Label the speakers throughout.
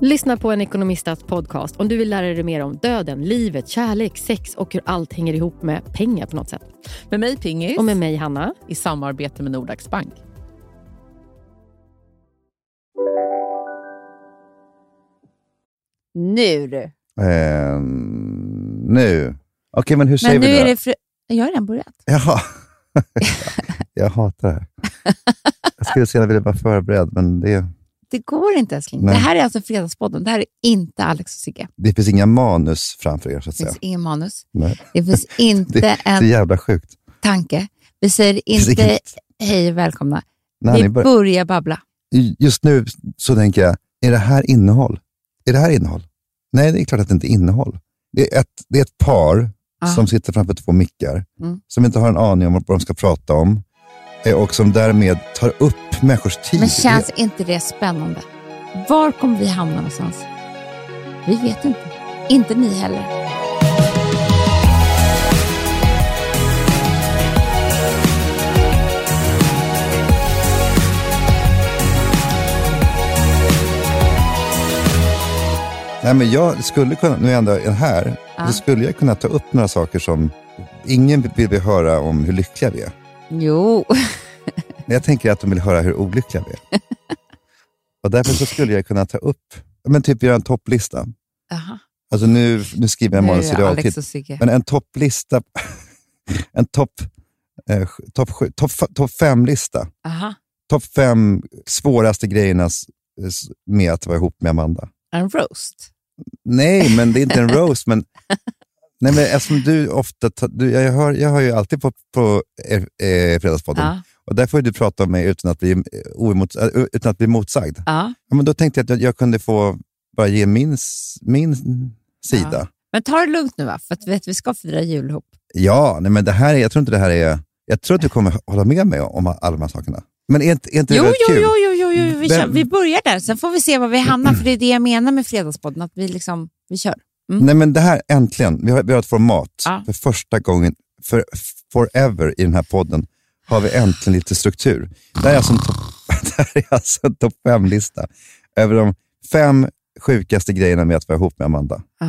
Speaker 1: Lyssna på en ekonomistats podcast om du vill lära dig mer om döden, livet, kärlek, sex och hur allt hänger ihop med pengar på något sätt.
Speaker 2: Med mig Pingis.
Speaker 1: Och med mig Hanna.
Speaker 2: I samarbete med Nordax Bank.
Speaker 3: Nu du.
Speaker 4: Eh, nu. Okej, men hur säger
Speaker 3: Men nu
Speaker 4: vi
Speaker 3: är
Speaker 4: då?
Speaker 3: det fru... Jag har redan börjat.
Speaker 4: Jaha. jag hatar det här. Jag skulle så gärna vilja vara förberedd, men det,
Speaker 3: Det går inte älskling.
Speaker 4: Nej.
Speaker 3: Det här är alltså Fredagspodden. Det här är inte Alex och Sigge.
Speaker 4: det finns inga manus framför er, så att
Speaker 3: Det
Speaker 4: säga.
Speaker 3: finns ingen manus.
Speaker 4: Nej.
Speaker 3: Det finns inte
Speaker 4: Det är
Speaker 3: en
Speaker 4: jävla sjukt.
Speaker 3: tanke. Vi säger
Speaker 4: finns
Speaker 3: inte
Speaker 4: inget-
Speaker 3: hej och välkomna.
Speaker 4: Nej,
Speaker 3: vi
Speaker 4: ni bör...
Speaker 3: börjar babbla.
Speaker 4: Just nu så tänker jag, är det här innehåll? Är det här innehåll? Nej, det är klart att det inte är innehåll. Det är ett, det är ett par
Speaker 3: Ja.
Speaker 4: som sitter framför två mickar,
Speaker 3: Ah. Mm.
Speaker 4: som inte har en aning om vad de ska prata om eh, och som därmed tar upp människors tid.
Speaker 3: Men känns inte det spännande? Var kommer vi hamna någonstans? Vi vet inte. Inte ni heller.
Speaker 4: Nej, men jag skulle kunna, nu är jag ändå här,
Speaker 3: Ja.
Speaker 4: så skulle jag kunna ta upp några saker som ingen vill vi höra om hur lyckliga vi är.
Speaker 3: Jo,
Speaker 4: Men jag tänker att de vill höra hur olyckliga vi är. Och därför så skulle jag kunna ta upp, men typ göra en topplista.
Speaker 3: Aha.
Speaker 4: Alltså nu, nu skriver jag
Speaker 3: nu är
Speaker 4: manus i
Speaker 3: det
Speaker 4: realtid.
Speaker 3: Alex och Sigge.
Speaker 4: Men en topplista, en topp eh, topp sju- topp f- topp fem-lista.
Speaker 3: Aha.
Speaker 4: Topp fem svåraste grejerna s- s- med att vara ihop med Amanda.
Speaker 3: En roast.
Speaker 4: Nej, men det är inte en roast. men, nej, men eftersom du ofta, ta- du, jag, hör, jag hör ju alltid på, på eh, eh, Fredagspodden.
Speaker 3: Ja,
Speaker 4: Och där får ju du prata om mig utan att bli, eh, oemot, eh, utan att bli motsagd.
Speaker 3: ja.
Speaker 4: Ja, men då tänkte jag att jag, jag kunde få bara ge min, s- min sida.
Speaker 3: Men ta det lugnt nu va? För att, vet, vi ska fira jul ihop.
Speaker 4: Ja, nej, men det här är, jag tror inte det här är... Jag tror att du kommer hålla med mig om alla de här sakerna. Men är inte, är inte
Speaker 3: Jo,
Speaker 4: det
Speaker 3: jo,
Speaker 4: väldigt
Speaker 3: jo,
Speaker 4: kul?
Speaker 3: jo, jo, jo. Vi,
Speaker 4: Vem-
Speaker 3: kör, vi börjar där, sen får vi se var vi hamnar, för det är det jag menar med Fredagspodden, att vi liksom, vi kör.
Speaker 4: Nej, men det här, äntligen. Vi har, vi har ett format.
Speaker 3: Ja.
Speaker 4: För första gången, för forever i den här podden, har vi äntligen lite struktur. Det här är alltså en topp alltså en topp fem-lista över de fem sjukaste grejerna med att vara ihop med Amanda.
Speaker 3: Ja.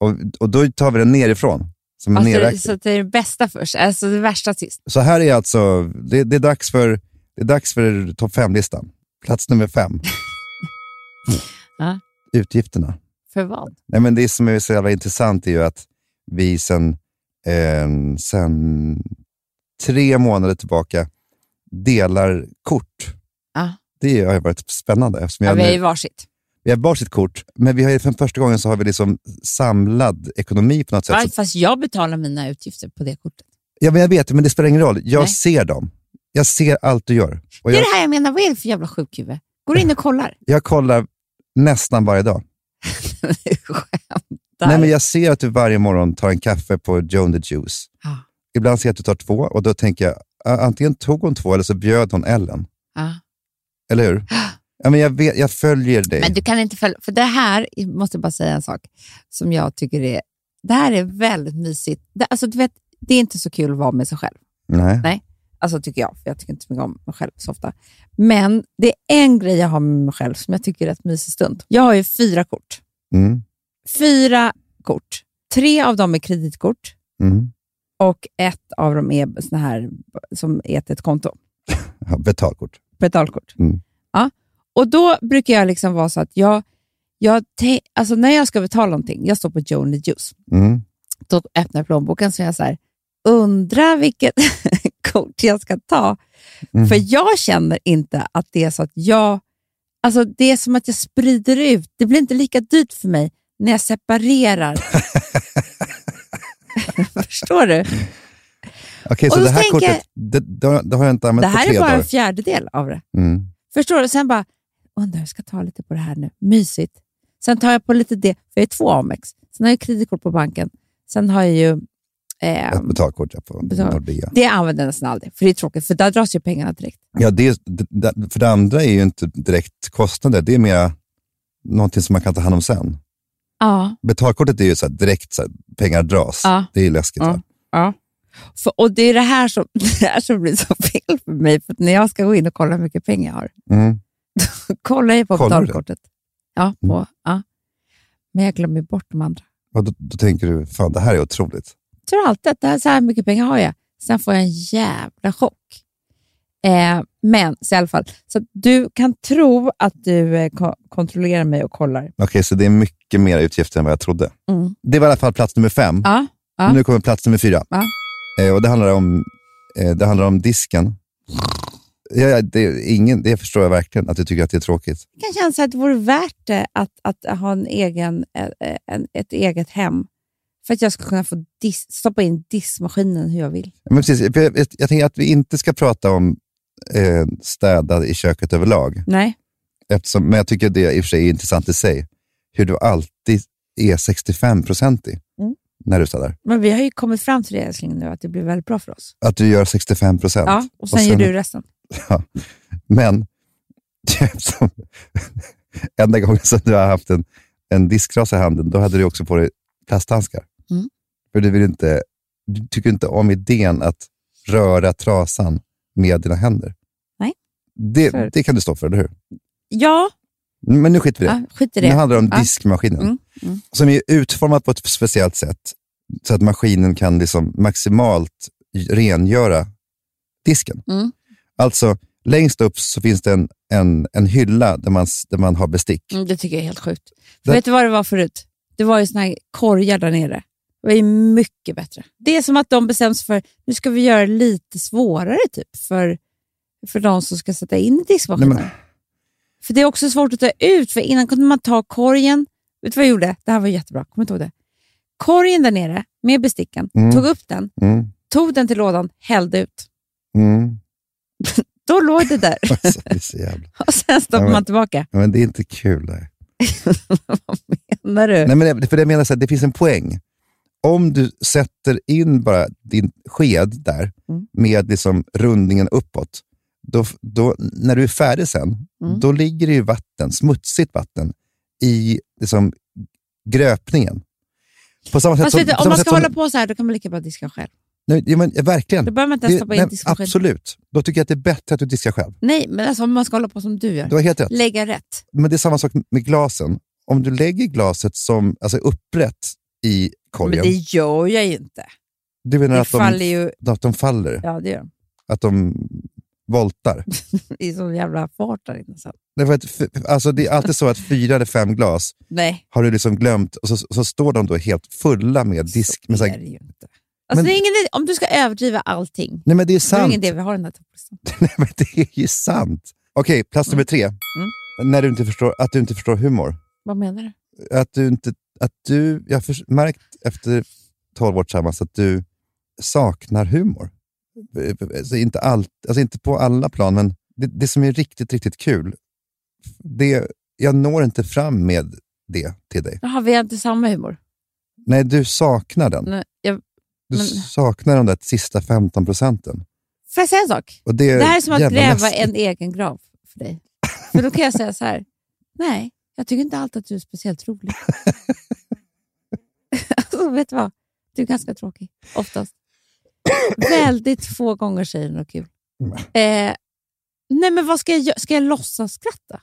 Speaker 4: Och, och då tar vi den nerifrån, som en
Speaker 3: Alltså,
Speaker 4: nerräkning.
Speaker 3: så att det är det bästa först, alltså det värsta sist.
Speaker 4: Så här är alltså, det, det är dags för, det är dags för topp fem-listan. Plats nummer fem.
Speaker 3: Ja.
Speaker 4: Utgifterna.
Speaker 3: För vad?
Speaker 4: Nej, men det som är så jävla intressant är ju att vi sen, eh, sen tre månader tillbaka delar kort.
Speaker 3: Ja.
Speaker 4: Det har ju varit spännande. Eftersom
Speaker 3: Ja,
Speaker 4: jag
Speaker 3: vi har ju
Speaker 4: nu,
Speaker 3: varsitt.
Speaker 4: vi har varsitt kort, men vi har ju för första gången så har vi liksom samlad ekonomi på något sätt.
Speaker 3: Ja,
Speaker 4: Så,
Speaker 3: fast jag betalar mina utgifter på det kortet.
Speaker 4: ja, men jag vet, men det spelar ingen roll. Jag
Speaker 3: Nej.
Speaker 4: ser dem. Jag ser allt du gör. Och
Speaker 3: Det är
Speaker 4: jag,
Speaker 3: det här jag menar, vad är det för jävla sjukhuvud? Går in och kollar.
Speaker 4: jag kollar nästan varje dag.
Speaker 3: Du Skämtar.
Speaker 4: Nej, men jag ser att du varje morgon tar en kaffe på Joan the Juice.
Speaker 3: Ja.
Speaker 4: Ibland ser jag att du tar två och då tänker jag a- antingen tog hon två eller så bjöd hon Ellen.
Speaker 3: Ja.
Speaker 4: Eller hur? Ja, men jag, vet, jag följer dig.
Speaker 3: Men du kan inte följa, för det här, jag måste bara säga en sak, som jag tycker är, det här är väldigt mysigt. Det, alltså, du vet, det är inte så kul att vara med sig själv.
Speaker 4: Nej.
Speaker 3: Nej. Alltså tycker jag, för jag tycker inte så mycket om mig själv så ofta. Men det är en grej jag har med mig själv som jag tycker är rätt mysig stund. Jag har ju fyra kort.
Speaker 4: Mm,
Speaker 3: Fyra kort. Tre av dem är kreditkort
Speaker 4: mm.
Speaker 3: och ett av dem är såna här som är till ett konto.
Speaker 4: Ja, betalkort.
Speaker 3: Betalkort.
Speaker 4: Mm.
Speaker 3: Ja. Och då brukar jag liksom vara så att jag, jag te- alltså när jag ska betala någonting, jag står på Joe and the Juice,
Speaker 4: Mm.
Speaker 3: då öppnar jag plånboken så är jag så här, undrar vilket kort jag ska ta.
Speaker 4: Mm.
Speaker 3: För jag känner inte att det är så att jag... Alltså det är som att jag sprider ut. Det blir inte lika dyrt för mig när jag separerar. Förstår du?
Speaker 4: Okej,
Speaker 3: Och
Speaker 4: så
Speaker 3: då
Speaker 4: det här
Speaker 3: tänker
Speaker 4: kortet
Speaker 3: jag-
Speaker 4: det, det, har, det har jag inte
Speaker 3: Det
Speaker 4: använt på
Speaker 3: här
Speaker 4: tre
Speaker 3: är bara en
Speaker 4: dagar.
Speaker 3: fjärdedel av det.
Speaker 4: Mm.
Speaker 3: Förstår du? Sen bara, undrar jag ska jag ta lite på det här nu. Mysigt. Sen tar jag på lite det, för jag är två Amex. Sen har jag kreditkort på banken. Sen har jag ju Eh,
Speaker 4: Ett betalkort ja, på
Speaker 3: Betal-
Speaker 4: Nordea.
Speaker 3: det använder jag nästan aldrig, för det är tråkigt, för där dras ju pengarna direkt.
Speaker 4: Ja, det, det- det, för det andra är ju inte direkt kostnader. Det är mer någonting som man kan ta hand om sen.
Speaker 3: Ja.
Speaker 4: Betalkortet är ju så här direkt så här, pengar dras.
Speaker 3: Ja.
Speaker 4: Det är ju läskigt.
Speaker 3: Ja.
Speaker 4: va?
Speaker 3: ja. För, och det är det här, som, det här som blir så fel för mig, för att när jag ska gå in och kolla hur mycket pengar jag har,
Speaker 4: Mm.
Speaker 3: kollar jag på
Speaker 4: Kollar du? Mm.
Speaker 3: betalkortet. Ja, på, ja. Men jag glömmer bort de andra.
Speaker 4: Och då, då tänker du, fan det här är otroligt.
Speaker 3: Jag tror alltid att det här, så här mycket pengar har jag. Sen får jag en jävla chock. Eh, men så i alla fall, så att du kan tro att du eh, ko- kontrollerar mig och kollar.
Speaker 4: Okej, så det är mycket mer utgifter än vad jag trodde.
Speaker 3: Mm.
Speaker 4: Det var i alla fall plats nummer fem.
Speaker 3: Ja, ja.
Speaker 4: Nu kommer plats nummer fyra.
Speaker 3: Ja.
Speaker 4: Eh, och det handlar om, eh, det handlar om disken. Ja, ja, det, är ingen, det förstår jag verkligen, att du tycker att det är tråkigt.
Speaker 3: Jag kan känna så här att det vore värt det att, att ha en egen, eh, en, ett eget hem. För att jag ska kunna få dis, stoppa in diskmaskinen hur jag vill.
Speaker 4: Men precis, för jag, jag, jag tänker att vi inte ska prata om eh, städa i köket överlag.
Speaker 3: Nej.
Speaker 4: Eftersom, men jag tycker det i och för sig är intressant i sig. Hur du alltid är 65-procentig
Speaker 3: Mm.
Speaker 4: när du städar.
Speaker 3: Men vi har ju kommit fram till det älskling nu, att det blir väldigt bra för oss.
Speaker 4: Att du gör 65 procent.
Speaker 3: Ja, och sen gör du resten.
Speaker 4: Men som, enda gången som du har haft en, en diskrasa i handen, då hade du också på dig plasthandskar.
Speaker 3: Mm.
Speaker 4: För du, vill inte, du tycker inte om idén att röra trasan med dina händer.
Speaker 3: Nej.
Speaker 4: Det,
Speaker 3: För-
Speaker 4: det kan du stå för, eller hur?
Speaker 3: Ja,
Speaker 4: Men nu skiter vi i det.
Speaker 3: ja skit i
Speaker 4: Nu
Speaker 3: det.
Speaker 4: handlar det om
Speaker 3: Ja.
Speaker 4: diskmaskinen.
Speaker 3: Mm, mm.
Speaker 4: Som är utformad på ett speciellt sätt. Så att maskinen kan liksom maximalt rengöra disken.
Speaker 3: Mm.
Speaker 4: Alltså, längst upp så finns det en, en, en hylla där man, s- där man har bestick.
Speaker 3: Mm, det tycker jag är helt sjukt. För
Speaker 4: Det-
Speaker 3: Vet du vad det var förut? Det var ju såna här korgar där nere. Det var ju mycket bättre. Det är som att de bestäms för nu ska vi göra det lite svårare typ för, för de som ska sätta in i diskmaskinen.
Speaker 4: Nej, men-
Speaker 3: För det är också svårt att ta ut, för innan kunde man ta korgen. Vet du vad jag gjorde? Det här var jättebra, kommer inte ihåg det. Korgen där nere med besticken,
Speaker 4: Mm.
Speaker 3: tog upp den,
Speaker 4: Mm,
Speaker 3: tog den till lådan, hällde ut.
Speaker 4: mm.
Speaker 3: Då låg det där
Speaker 4: Alltså, det, är så jävla.
Speaker 3: och sen stoppar
Speaker 4: Ja, men-
Speaker 3: man tillbaka.
Speaker 4: Ja, men det är inte kul. Nej.
Speaker 3: När du...
Speaker 4: Nej, men det, för det, jag menar så här, det finns en poäng. Om du sätter in bara din sked där
Speaker 3: Mm.
Speaker 4: med liksom rundningen uppåt, då, då, när du är färdig sen,
Speaker 3: Mm.
Speaker 4: då ligger det ju vatten, smutsigt vatten i liksom, gröpningen. På samma sätt
Speaker 3: Fast
Speaker 4: som...
Speaker 3: vet du,
Speaker 4: på
Speaker 3: om
Speaker 4: samma
Speaker 3: man
Speaker 4: sätt
Speaker 3: ska
Speaker 4: som-
Speaker 3: hålla på så här, då kan man lika bra diska själv.
Speaker 4: Nej, ja, men, verkligen.
Speaker 3: Då behöver man inte ens stoppa in
Speaker 4: nej,
Speaker 3: diskmaskinen.
Speaker 4: absolut. Då tycker jag att det är bättre att du diskar själv.
Speaker 3: Nej, men alltså om man ska hålla på som du gör.
Speaker 4: Du har helt rätt.
Speaker 3: Lägga rätt.
Speaker 4: Men det är samma sak med glasen. Om du lägger glaset som, alltså upprätt i
Speaker 3: Men
Speaker 4: korgen,
Speaker 3: det gör jag ju inte.
Speaker 4: du menar
Speaker 3: Det
Speaker 4: att de,
Speaker 3: faller ju...
Speaker 4: att de faller?
Speaker 3: Ja, det gör de.
Speaker 4: Att de voltar?
Speaker 3: I sån jävla fart där inne sen.
Speaker 4: Därför att, f- alltså, det är alltid så att fyra eller fem glas
Speaker 3: Nej,
Speaker 4: har du liksom glömt och så, så står de då helt fulla med disk. Men så
Speaker 3: så
Speaker 4: här,
Speaker 3: är det ju inte. Alltså,
Speaker 4: Men-
Speaker 3: det är ingen, idé- om du ska överdriva allting,
Speaker 4: nej men det är
Speaker 3: då är det
Speaker 4: sant.
Speaker 3: ingen idé vi har den här topplistan.
Speaker 4: Nej, men det är ju sant. Okej, plats
Speaker 3: Mm.
Speaker 4: nummer tre. När du inte förstår, att du inte förstår humor.
Speaker 3: Vad menar du?
Speaker 4: att du inte... Att du, jag har förs- märkt efter 12 år tillsammans att du saknar humor. Alltså inte, allt, alltså inte på alla plan, men det, det som är riktigt, riktigt kul, det, jag når inte fram med det till dig.
Speaker 3: Jaha, vi har inte samma humor.
Speaker 4: Nej, du saknar den.
Speaker 3: Nej, jag...
Speaker 4: du
Speaker 3: men-
Speaker 4: saknar de där sista 15 procenten.
Speaker 3: Får jag säga en sak?
Speaker 4: Och det, är
Speaker 3: Det här är som att
Speaker 4: jävla
Speaker 3: gräva
Speaker 4: läskigt.
Speaker 3: en egen grav för dig. För då kan jag säga så här. Nej, jag tycker inte alltid att du är speciellt rolig. alltså, vet du vad? Du är ganska tråkig, oftast. Väldigt få gånger säger du något kul.
Speaker 4: Mm.
Speaker 3: Eh, nej, men vad ska jag göra? Ska jag låtsas skratta?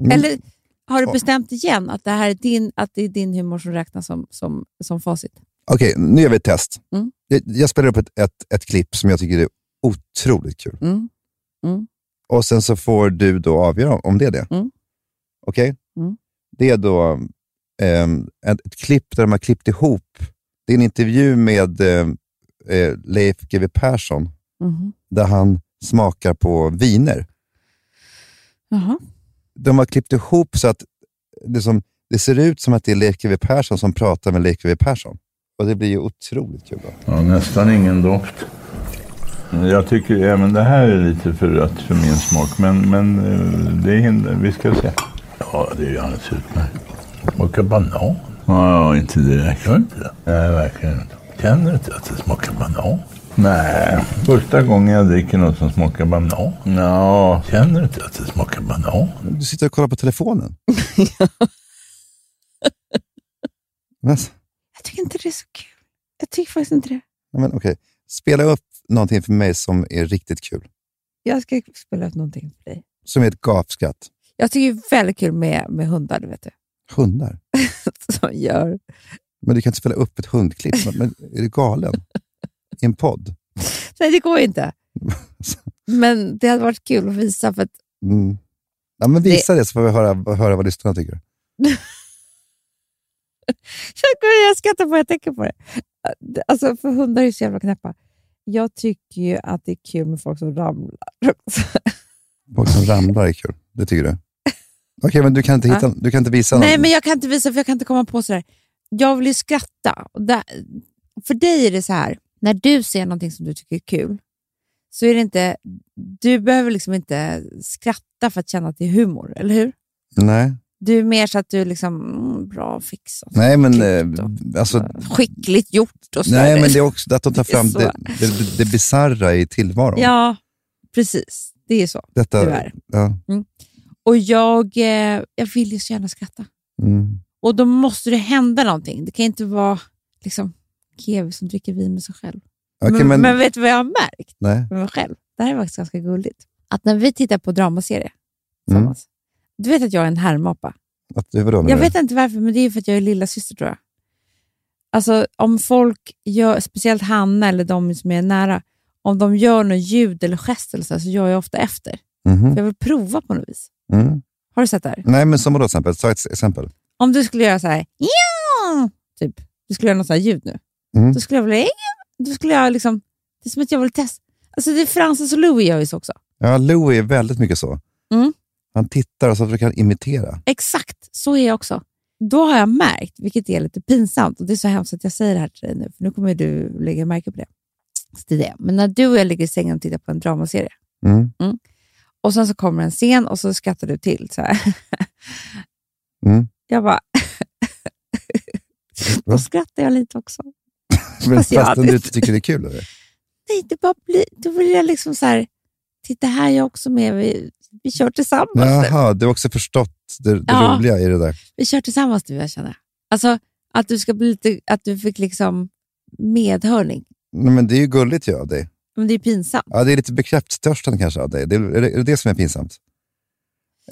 Speaker 4: Mm.
Speaker 3: Eller har du
Speaker 4: Ja.
Speaker 3: bestämt igen att det, här är din, att det är din humor som räknas som, som, som facit?
Speaker 4: Okej, nu gör vi ett test.
Speaker 3: Mm.
Speaker 4: Jag, jag spelar upp ett, ett, ett klipp som jag tycker är otroligt kul.
Speaker 3: Mm. Mm.
Speaker 4: Och sen så får du då avgöra om det är det.
Speaker 3: Mm.
Speaker 4: Okej?
Speaker 3: Mm.
Speaker 4: Det är då ehm, ett, ett klipp där de har klippt ihop. Det är en intervju med ehm, eh, Leif GW Persson
Speaker 3: Mhm.
Speaker 4: där han smakar på viner.
Speaker 3: Jaha.
Speaker 4: De har klippt ihop så att det, som, det ser ut som att det är Leif GW Persson som pratar med Leif GW Persson. Och det blir ju otroligt kul. Då.
Speaker 5: Ja, nästan ingen doft. Jag tycker även det här är lite för rött för min smak, men, men eh, det hindrar. Vi ska se. Ja, det är ju alldeles utmärkt. Smakar banan. Ja, ja, inte direkt. Gör inte det? Nej, verkligen inte. Känner du inte att det smakar banan? Nej, första gången jag dricker något som smakar banan. Nå, känner du inte att det smakar banan?
Speaker 4: Du sitter och kollar på telefonen. men,
Speaker 3: Jag tycker inte det är så kul. Jag tycker faktiskt inte det.
Speaker 4: men, okej. Spela upp någonting för mig som är riktigt kul.
Speaker 3: Jag ska spela ut någonting för dig.
Speaker 4: Som är ett gapskratt.
Speaker 3: Jag tycker det är väldigt kul med, med hundar, du vet du.
Speaker 4: Hundar.
Speaker 3: Som gör...
Speaker 4: Men du kan inte spela upp ett hundklipp. Men, men, är du galen? I en podd?
Speaker 3: Nej, det går inte. Men det hade varit kul att visa. För att,
Speaker 4: Mm. Ja, men visa det... så får vi höra, höra vad lyssnarna tycker.
Speaker 3: jag, kommer- jag skrattar på jag tänker på det. Alltså, för hundar är ju så jävla knäppa. Jag tycker ju att det är kul med folk som ramlar.
Speaker 4: Folk som ramlar är kul. Det tycker du? Okej, men du kan inte, hitta, du kan inte visa
Speaker 3: Nej,
Speaker 4: någon.
Speaker 3: men jag kan inte visa för jag kan inte komma på sådär. Jag vill ju skratta. Och där, för dig är det så här, när du ser någonting som du tycker är kul, så är det inte, du behöver liksom inte skratta för att känna att det är humor, eller hur?
Speaker 4: Nej.
Speaker 3: Du är mer så att du liksom, mm, bra fixat,
Speaker 4: Nej, men
Speaker 3: klippt och,
Speaker 4: eh, alltså,
Speaker 3: skickligt gjort och sådär.
Speaker 4: nej, men det är också att de tar fram
Speaker 3: Så.
Speaker 4: det, det, det bisarra i tillvaron.
Speaker 3: Ja, precis. Det är så,
Speaker 4: Detta,
Speaker 3: tyvärr. Mm.
Speaker 4: ja.
Speaker 3: Och jag, eh, jag vill ju så gärna skratta.
Speaker 4: Mm.
Speaker 3: Och då måste det hända någonting. Det kan inte vara liksom GW som dricker vin med sig själv.
Speaker 4: Okej,
Speaker 3: men,
Speaker 4: men,
Speaker 3: men vet du vad jag har märkt
Speaker 4: nej.
Speaker 3: med mig själv? Det här är faktiskt ganska gulligt. Att när vi tittar på dramaserier
Speaker 4: Mm.
Speaker 3: tillsammans. Du vet att jag är en härmapa.
Speaker 4: Att, vadå,
Speaker 3: Jag vet inte varför, men det är för att jag är lilla syster tror jag. Alltså om folk, gör, speciellt Hanna eller de som är nära, om de gör något ljud eller gest eller så, här, så gör jag ofta efter.
Speaker 4: Mhm,
Speaker 3: För jag vill prova på något vis.
Speaker 4: Mm.
Speaker 3: Har du sett det här?
Speaker 4: Nej, men som vadå till exempel? Ta ett exempel.
Speaker 3: Om du skulle göra så här, ja, typ. Du skulle göra något så här ljud nu.
Speaker 4: Mm.
Speaker 3: Då skulle jag vilja, ja, då skulle jag liksom, det är som att jag vill testa. Alltså det är Frances och Louis gör ju så också.
Speaker 4: Ja, Louis är väldigt mycket så.
Speaker 3: Mm.
Speaker 4: Han tittar och så försöker han imitera.
Speaker 3: Exakt, så är jag också. Då har jag märkt, vilket är lite pinsamt, och det är så hemskt att jag säger det här till dig nu, för nu kommer ju du lägga märke på det. Så det, är det. Men när du och jag ligger i sängen och tittar på en dramaserie,
Speaker 4: Mm.
Speaker 3: och sen så kommer en scen och så skrattar du till så här.
Speaker 4: Mm.
Speaker 3: Jag bara, då
Speaker 4: Va?
Speaker 3: skrattar jag lite också.
Speaker 4: Men
Speaker 3: Fast jag
Speaker 4: fastän
Speaker 3: hade-
Speaker 4: du inte tycker det är kul? Eller?
Speaker 3: Nej, det bara blir, då vill jag liksom så här, titta här är jag också med, vi, vi kör tillsammans. nu.
Speaker 4: Jaha, du har också förstått det, det
Speaker 3: Ja.
Speaker 4: roliga i det där.
Speaker 3: Vi kör tillsammans du och jag känner. Alltså att du ska bli lite, att du fick liksom medhörning.
Speaker 4: Nej, men det är ju gulligt ju av dig.
Speaker 3: Men det är pinsamt.
Speaker 4: Ja, det är lite bekräftelsetörsten kanske av dig. Det, är, det, är det det som är pinsamt?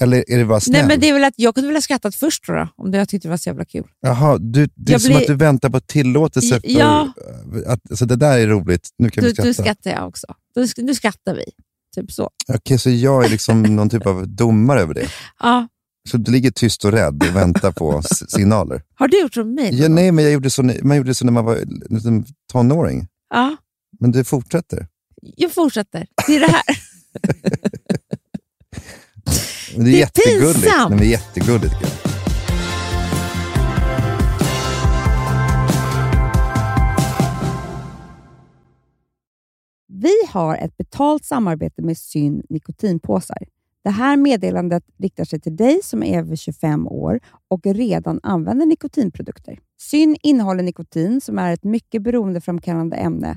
Speaker 4: Eller är det bara snäll?
Speaker 3: Nej, men det är väl att jag kunde väl ha skrattat först då, då om det jag tyckte det var så jävla kul.
Speaker 4: Jaha, du, det är
Speaker 3: Jag
Speaker 4: som
Speaker 3: blir-
Speaker 4: att du väntar på tillåtelse. För, eh,
Speaker 3: Ja.
Speaker 4: att, så det där är roligt, nu kan
Speaker 3: Du,
Speaker 4: vi skratta.
Speaker 3: du skrattar jag också. Du, sk- nu skrattar vi. Typ så.
Speaker 4: Okej, så jag är liksom någon typ av domare över det.
Speaker 3: Ja.
Speaker 4: Så du ligger tyst och rädd och väntar på s- signaler.
Speaker 3: Har du gjort som mig?
Speaker 4: Ja, nej, men jag gjorde så, när- man gjorde så när man var en liten tonåring.
Speaker 3: Ja.
Speaker 4: Men det fortsätter.
Speaker 3: Jag fortsätter. Det är det här.
Speaker 4: Men det är,
Speaker 3: Det är
Speaker 4: jättegulligt. Nej,
Speaker 3: pinsamt.
Speaker 4: men det är jättegulligt. tycker jag.
Speaker 6: Vi har ett betalt samarbete med Syn nikotinpåsar. Det här meddelandet riktar sig till dig som är över 25 år och redan använder nikotinprodukter. Syn innehåller nikotin som är ett mycket beroendeframkallande ämne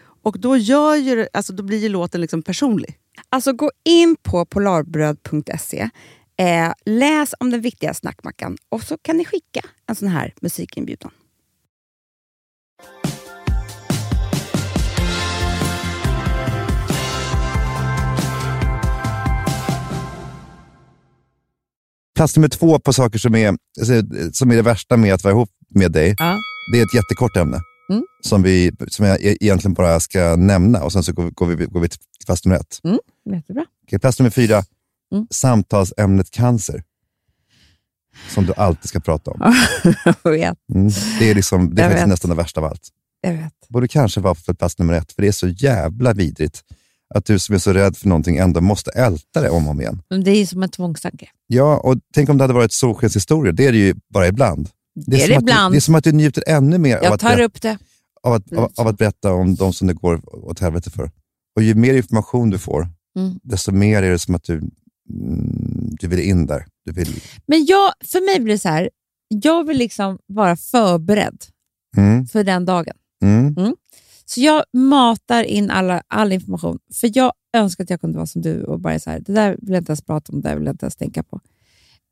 Speaker 7: Och då, gör ju, det- alltså, då blir ju låten liksom personlig.
Speaker 6: Alltså gå in på polarbröd.se, eh, läs om den viktiga snackmackan och så kan ni skicka en sån här musikinbjudan.
Speaker 4: Plats nummer två på saker som är, alltså, som är det värsta med att vara ihop med dig,
Speaker 2: Ja.
Speaker 4: det är ett jättekort ämne.
Speaker 2: Mm.
Speaker 4: Som, vi, som jag e- egentligen bara ska nämna och sen så går, vi- går, vi, går vi till plats nummer ett.
Speaker 2: Jättebra.
Speaker 4: Okej, plats nummer fyra,
Speaker 2: Mm.
Speaker 4: samtalsämnet cancer. Som du alltid ska prata om.
Speaker 6: Jag vet,
Speaker 4: Mm. Det är, liksom, det är
Speaker 6: Jag
Speaker 4: faktiskt
Speaker 6: vet.
Speaker 4: nästan det värsta av allt.
Speaker 6: jag vet.
Speaker 4: Borde kanske vara på plats nummer ett, för det är så jävla vidrigt att du som är så rädd för någonting ändå måste älta det om och om igen.
Speaker 2: Men det är ju som en tvångstanke.
Speaker 4: Ja, och tänk om det hade varit solskenshistorier. Det är det ju bara ibland. Det
Speaker 2: är
Speaker 4: som
Speaker 2: det
Speaker 4: att
Speaker 2: ibland.
Speaker 4: Du, det är som att du njuter ännu mer av
Speaker 2: Jag
Speaker 4: att,
Speaker 2: tar
Speaker 4: berätta,
Speaker 2: upp det.
Speaker 4: av, att,
Speaker 3: Mm.
Speaker 4: av, av att berätta om de som det går åt helvete för. Och ju mer information du får,
Speaker 2: Mm.
Speaker 4: desto mer är det som att du, mm, du vill in där. Du vill,
Speaker 3: Men jag, för mig blir det så här, jag vill liksom vara förberedd
Speaker 4: mm,
Speaker 3: för den dagen.
Speaker 4: mm.
Speaker 3: Så jag matar in alla, all information, för jag önskar att jag kunde vara som du och bara så här, det där vill jag inte ens prata om, det där vill jag inte ens tänka på.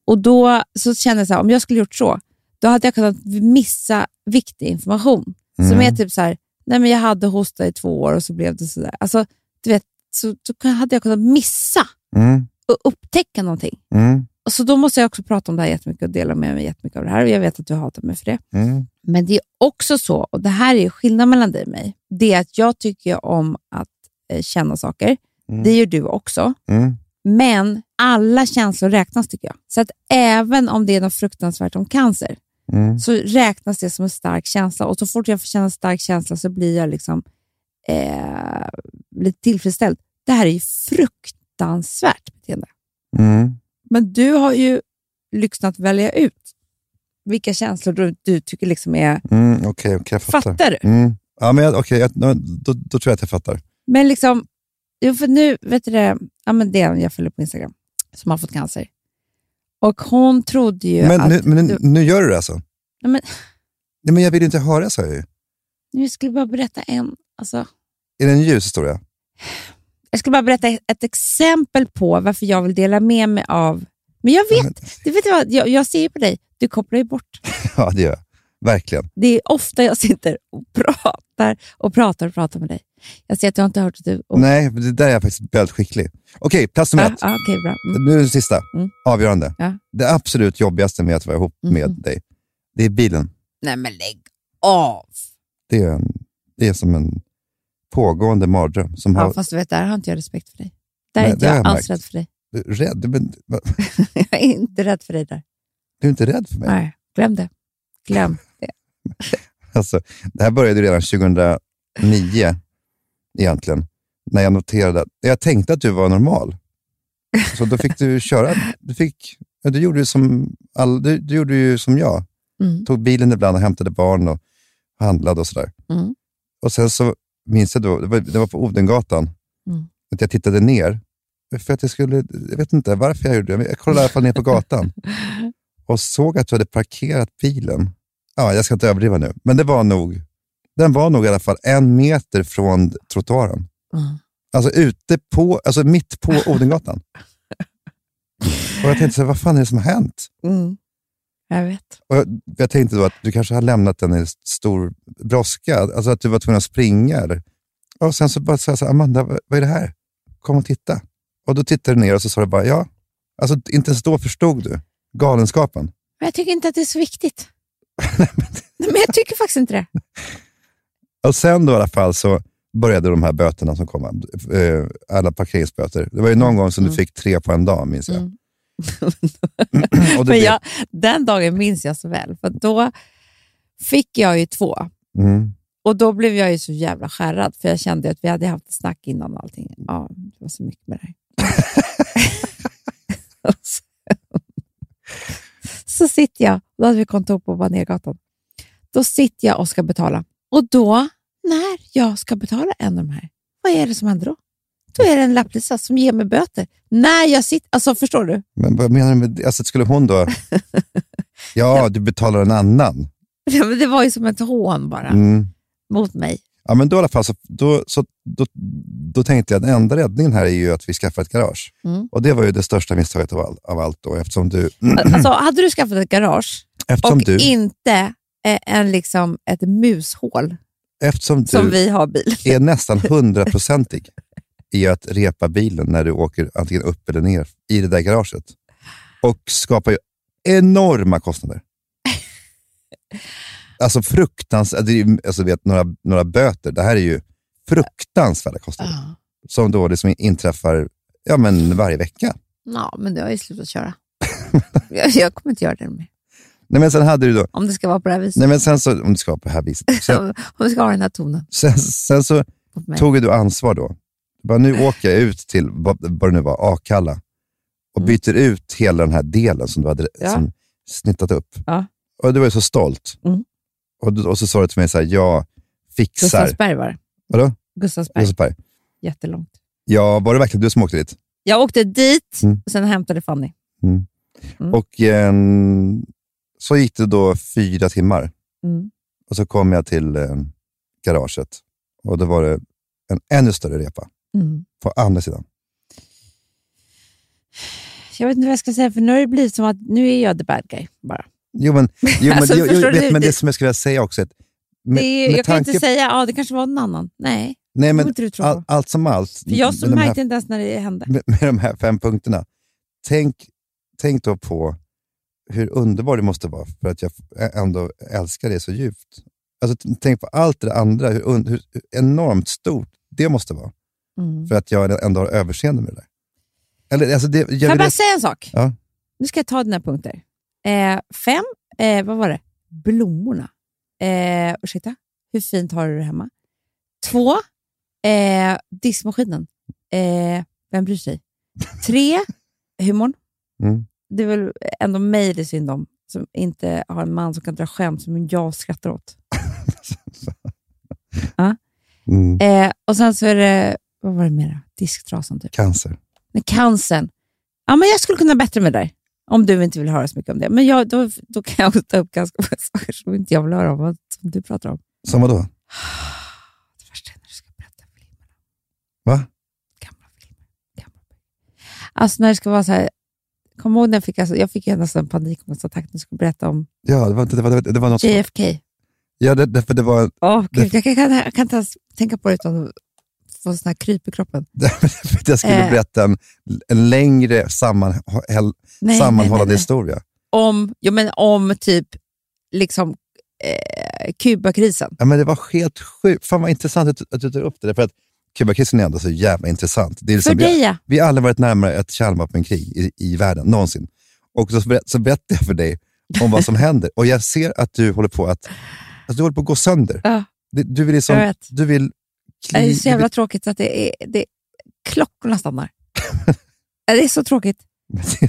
Speaker 3: Och då så känner jag så här, om jag skulle gjort så, då hade jag kunnat missa viktig information. Som
Speaker 4: Mm.
Speaker 3: är typ så här, nej men jag hade hosta i två år och så blev det så där. Alltså, du vet, så, så kan- hade jag kunnat missa
Speaker 4: Mm,
Speaker 3: och upptäcka någonting.
Speaker 4: mm,
Speaker 3: Och Så då måste jag också prata om det här jättemycket och dela med mig jättemycket av det här. Och Jag vet att du hatar mig för det.
Speaker 4: mm,
Speaker 3: Men det är också så, och det här är ju skillnaden mellan dig och mig, det är att jag tycker ju om att eh, känna saker.
Speaker 4: Mm.
Speaker 3: Det gör du också.
Speaker 4: mm,
Speaker 3: Men alla känslor räknas tycker jag. Så att även om det är något fruktansvärt om cancer
Speaker 4: mm.
Speaker 3: så räknas det som en stark känsla. Och så fort jag får känna en stark känsla så blir jag liksom eh, lite tillfredsställd. Det här är ju fruktansvärt fruktansvärt beteende.
Speaker 4: Mm.
Speaker 3: Men du har ju lyxen att välja ut vilka känslor du, du tycker liksom är...
Speaker 4: Mm, Okej, okej, jag fattar.
Speaker 3: Fattar du?
Speaker 4: Mm. Ja, men jag, okej, jag, då, då, då tror jag att jag fattar.
Speaker 3: Men liksom, jo, för nu, vet du det, ja, men det är en jag följer på Instagram som har fått cancer. Och hon trodde ju att...
Speaker 4: men nu, men nu,
Speaker 3: du,
Speaker 4: nu gör du det alltså?
Speaker 3: Nej, men-
Speaker 4: Nej, men jag vill ju inte höra, sa jag ju.
Speaker 3: nu skulle jag bara berätta en... Alltså,
Speaker 4: Är det en ljus historia?
Speaker 3: jag skulle bara berätta ett exempel på varför jag vill dela med mig av... Men jag vet,
Speaker 4: men-
Speaker 3: du vet vad, jag, jag ser ju på dig, du kopplar ju bort.
Speaker 4: Ja, det gör jag. Verkligen.
Speaker 3: Det är ofta jag sitter och pratar och pratar och pratar med dig. Jag ser att du har inte hört att du... Och,
Speaker 4: Nej, men det där är jag faktiskt väldigt skicklig. Okej, plats nummer
Speaker 3: ah,
Speaker 4: ett.
Speaker 3: ah, Okej, bra. Mm.
Speaker 4: Nu är det sista.
Speaker 3: Mm.
Speaker 4: Avgörande.
Speaker 3: Ja. Mm.
Speaker 4: Det absolut jobbigaste med att vara ihop med dig, det är bilen.
Speaker 3: Nej, men lägg av!
Speaker 4: Det är, en, det är som en pågående mardröm. Som
Speaker 3: Ja,
Speaker 4: har,
Speaker 3: fast du vet, där har inte jag respekt för dig. Där
Speaker 4: Nej,
Speaker 3: är inte
Speaker 4: det har
Speaker 3: jag
Speaker 4: jag
Speaker 3: alls
Speaker 4: märkt.
Speaker 3: rädd för dig.
Speaker 4: Du är rädd, men, va,
Speaker 3: Jag är inte rädd för dig där.
Speaker 4: du är inte rädd för mig?
Speaker 3: Nej, glöm det. Glöm.
Speaker 4: Alltså, det här började ju redan 2009 egentligen. När jag noterade att jag tänkte att du var normal. Så då fick du köra. Du, fick, ja, du, gjorde, ju som all, du, du gjorde ju som jag.
Speaker 1: Mm.
Speaker 4: Tog bilen ibland och hämtade barn och handlade och sådär.
Speaker 1: Mm.
Speaker 4: Och sen så minns jag då, det var, det var på Odengatan,
Speaker 1: Mm.
Speaker 4: att jag tittade ner. För att jag skulle, jag vet inte varför jag gjorde det, men jag kollade i alla fall ner på gatan. Och såg att du hade parkerat bilen. Ja, jag ska inte överdriva nu, men det var nog, den var nog i alla fall en meter från trottoaren.
Speaker 1: Mm.
Speaker 4: Alltså ute på, alltså mitt på Odengatan. och jag tänkte, så här, vad fan är det som har hänt?
Speaker 3: Mm. Jag vet.
Speaker 4: Och jag, jag tänkte då att du kanske har lämnat den i stor brådska, alltså att du var tvungen att springa. Eller? Och sen så bara sa jag så här, Amanda, vad, vad är det här? Kom och titta. Och då tittade du ner och så sa du bara, ja. Alltså inte ens då förstod du galenskapen.
Speaker 3: Men jag tycker inte att det är så viktigt. Nej, men jag tycker faktiskt inte det.
Speaker 4: Och sen då i alla fall så började de här böterna som kom, eh, alla parkeringsböter. Det var ju
Speaker 3: Mm.
Speaker 4: någon gång som du fick tre på en dag, minns jag.
Speaker 1: Mm.
Speaker 4: och du
Speaker 3: Men
Speaker 4: vet-
Speaker 3: jag, den dagen minns jag så väl, för då fick jag ju två.
Speaker 4: Mm.
Speaker 3: Och då blev jag ju så jävla skärrad, för jag kände ju att vi hade haft ett snack innan och allting. Ja, det var så mycket med det här. Och så, så sitter jag, då hade vi kontor på Banérgatan. Då sitter jag och ska betala. Och då, när jag ska betala en av de här, vad är det som händer då? Då är det en lapplisa som ger mig böter. När jag sitter, alltså förstår du?
Speaker 4: Men vad menar du med det? Alltså skulle hon då... Ja, du betalar en annan.
Speaker 3: Ja, men Det var ju som ett hån bara
Speaker 4: Mm.
Speaker 3: mot mig.
Speaker 4: Ja, men då i alla fall så, då, så, då, då tänkte jag att den enda räddningen här är ju att vi skaffar ett garage.
Speaker 3: Mm.
Speaker 4: Och det var ju det största misstaget av, all, av allt då, eftersom du...
Speaker 3: Alltså, hade du skaffat ett garage
Speaker 4: Eftersom
Speaker 3: och
Speaker 4: du,
Speaker 3: inte eh, en, liksom, ett mushål
Speaker 4: eftersom
Speaker 3: som
Speaker 4: du
Speaker 3: vi har bil.
Speaker 4: är nästan hundraprocentig i att repa bilen när du åker antingen upp eller ner i det där garaget. Och skapar ju enorma kostnader. Alltså fruktansvärt, det är ju- alltså vet, några, några böter, det här är ju fruktansvärda kostnader. Som då liksom inträffar ja, men varje vecka.
Speaker 3: Ja, men du har ju slutat köra. jag, jag kommer inte göra det mer.
Speaker 4: Nej, men sen hade du då...
Speaker 3: Om det ska vara på det här viset.
Speaker 4: Nej, men sen så, om du ska vara på det här viset. Sen,
Speaker 3: Om vi ska ha den här tonen
Speaker 4: sen, sen så
Speaker 3: mot mig.
Speaker 4: tog ju du ansvar då. Du Bara, nu åker jag ut till, vad, vad det nu var, Akalla och byter ut hela den här delen som du hade
Speaker 3: Mm. Ja.
Speaker 4: som snittat upp.
Speaker 3: Ja.
Speaker 4: Och du var ju så stolt.
Speaker 3: Mm.
Speaker 4: Och, du, och så sa du till mig så här, jag fixar.
Speaker 3: Gustavsberg var det.
Speaker 4: Vadå?
Speaker 3: Gustavsberg,
Speaker 4: Gustavsberg.
Speaker 3: jättelångt.
Speaker 4: Ja, var det verkligen du som åkte dit?
Speaker 3: Jag åkte dit
Speaker 4: Mm.
Speaker 3: och sen hämtade Fanny. Mm.
Speaker 4: Och eh, så gick det då fyra timmar.
Speaker 3: Mm.
Speaker 4: Och så kom jag till eh, garaget och då var det en ännu större repa
Speaker 3: Mm.
Speaker 4: på andra sidan.
Speaker 3: Jag vet inte vad jag ska säga, för nu har det blivit som att nu är jag the bad guy. Bara.
Speaker 4: Jo, men, jo, men,
Speaker 3: Alltså,
Speaker 4: jo,
Speaker 3: förstår
Speaker 4: jo,
Speaker 3: du?
Speaker 4: vet, men
Speaker 3: Det-
Speaker 4: det som jag skulle vilja säga också. är Att med,
Speaker 3: det är,
Speaker 4: med
Speaker 3: jag kan inte säga att ah, det kanske var någon annan. Nej,
Speaker 4: nej,
Speaker 3: det
Speaker 4: men,
Speaker 3: inte du tro
Speaker 4: all,
Speaker 3: på.
Speaker 4: allt som allt,
Speaker 3: För jag som
Speaker 4: med, de
Speaker 3: märkte
Speaker 4: här,
Speaker 3: inte ens när det hände.
Speaker 4: med, med de här fem punkterna. Tänk, tänk då på hur underbar det måste vara för att jag ändå älskar det så djupt. Alltså, t- tänk på allt det andra, hur, un- hur hur enormt stort det måste vara
Speaker 3: Mm.
Speaker 4: för att jag ändå har överseende med det där. Eller, alltså det,
Speaker 3: Får
Speaker 4: jag
Speaker 3: jag
Speaker 4: vill,
Speaker 3: bara säga en sak?
Speaker 4: Ja.
Speaker 3: Nu ska jag ta dina punkter. Eh, fem, eh, vad var det? Blommorna. Eh, ursäkta, hur fint har du det hemma? Två, eh, diskmaskinen. Eh, vem bryr sig? Tre, humorn.
Speaker 4: Mm.
Speaker 3: Det är väl ändå mig det är synd om, som inte har en man som kan dra skämt som jag skrattar åt.
Speaker 4: Mm.
Speaker 3: Eh, och sen så är det, vad var det mera? Disktrasan typ.
Speaker 4: Cancer.
Speaker 3: Men cancern. Ja, men jag skulle kunna bättre med det där. Om du inte vill höra så mycket om det. Men jag, då, då kan jag ta upp ganska många saker som inte jag vill höra om, vad som du pratar om.
Speaker 4: Som vadå?
Speaker 3: Det värsta är när du ska berätta filmer.
Speaker 4: Va?
Speaker 3: Gamla filmer. Gamla. Alltså när det ska vara så här, kom ihåg när jag fick, alltså, jag fick ju nästan panikångestattack när jag skulle berätta om
Speaker 4: Ja, det var, det var, det var något.
Speaker 3: JFK.
Speaker 4: Ja, det, det, för det var...
Speaker 3: Åh, gud,
Speaker 4: Det-
Speaker 3: jag, kan, jag, kan, jag kan inte ens tänka på det utan att få sån här kryp i kroppen.
Speaker 4: för att jag skulle
Speaker 3: Eh.
Speaker 4: berätta en, en längre sammanhäll,
Speaker 3: Nej,
Speaker 4: sammanhållande
Speaker 3: nej, nej, nej.
Speaker 4: historia.
Speaker 3: om, ja, men om typ liksom eh, Kubakrisen.
Speaker 4: Ja, men det var helt sjukt. Fan vad intressant att, du- att du tar upp det där. För att Kubakrisen är ändå så jävla intressant. Det är
Speaker 3: För
Speaker 4: liksom, vi,
Speaker 3: dig ja.
Speaker 4: vi har aldrig varit närmare ett kärnvapenkrig i, i världen, någonsin. Och så, berätt, så berättar jag för dig om vad som händer. Och jag ser att du håller på att, att, du håller på att gå sönder.
Speaker 3: Ja.
Speaker 4: Det- Du vill
Speaker 3: Jag
Speaker 4: liksom...
Speaker 3: vet.
Speaker 4: Du vill
Speaker 3: Det
Speaker 4: kli,
Speaker 3: är så
Speaker 4: du vill-
Speaker 3: jävla tråkigt så att det är, det, klockorna stannar. Ja, det är så tråkigt.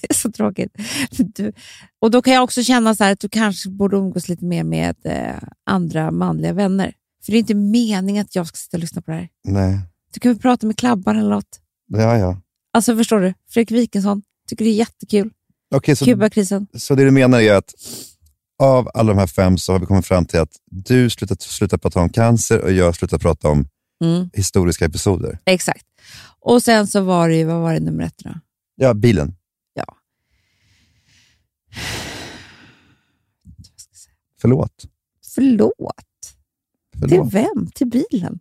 Speaker 3: Det är så tråkigt. Du, och då kan jag också känna så här att du kanske borde umgås lite mer med eh, andra manliga vänner. För det är inte meningen att jag ska sitta och lyssna på det här.
Speaker 4: Nej,
Speaker 3: Du kan väl prata med klabban eller något.
Speaker 4: ja, ja.
Speaker 3: Alltså förstår du? Fredrik Wikingsson tycker det är jättekul.
Speaker 4: Okej, så,
Speaker 3: Kubakrisen.
Speaker 4: så det du menar är att av alla de här fem så har vi kommit fram till att du slutar, slutar prata om cancer och jag slutar prata om
Speaker 3: Mm,
Speaker 4: historiska episoder.
Speaker 3: exakt. Och sen så var det ju, vad var det nummer ett då?
Speaker 4: Ja, bilen. Förlåt.
Speaker 3: Förlåt? Till
Speaker 4: Förlåt.
Speaker 3: vem? Till bilen?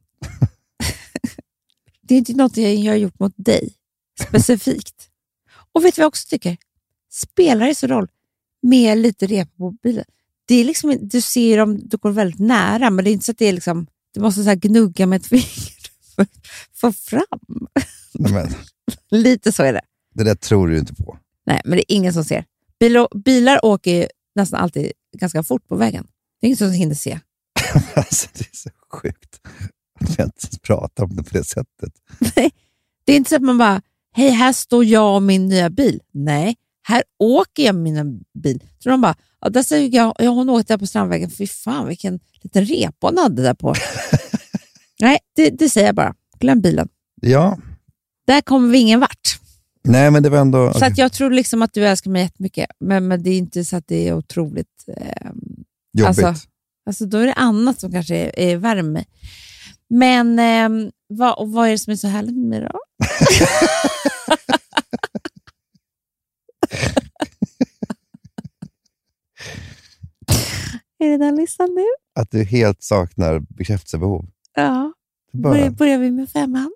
Speaker 3: det är inte något jag jag har gjort mot dig specifikt. Och vet du vad jag också tycker? Spelar det så roll med lite repa på bilen? Det är liksom, du ser dem, du går väldigt nära, men det är inte så att det är liksom, du måste så här gnugga med ett finger för att få fram.
Speaker 4: Nej, men,
Speaker 3: Lite så är det.
Speaker 4: det där tror du inte på.
Speaker 3: Nej, men det är ingen som ser. Bilar, bilar åker ju nästan alltid ganska fort på vägen. Det är ingen som hinner se.
Speaker 4: Alltså, det är så sjukt att jag inte pratar om det på det sättet.
Speaker 3: Det är inte så att man bara, hej här står jag och min nya bil. Nej, här åker jag med min bil. Så de bara, ja, där ser jag, ja, hon åkte där på Strandvägen, fy fan vilken liten repa hon hade där på. Nej, det, det säger jag bara. Glöm bilen.
Speaker 4: Ja,
Speaker 3: Där kommer vi ingen vart.
Speaker 4: nej men det var ändå...
Speaker 3: Så
Speaker 4: okej.
Speaker 3: att jag tror liksom att du älskar mig jättemycket, men, men det är inte så att det är otroligt... ehm,
Speaker 4: Jobbigt.
Speaker 3: Alltså, alltså då är det annat som kanske är, är värre med mig. Men ehm, vad, och vad är det som är så härligt med mig då? är det den listan nu?
Speaker 4: Att du helt saknar bekräftelsebehov.
Speaker 3: Ja.
Speaker 4: Det är
Speaker 3: Börjar,
Speaker 4: Bara,
Speaker 3: börjar vi med femman?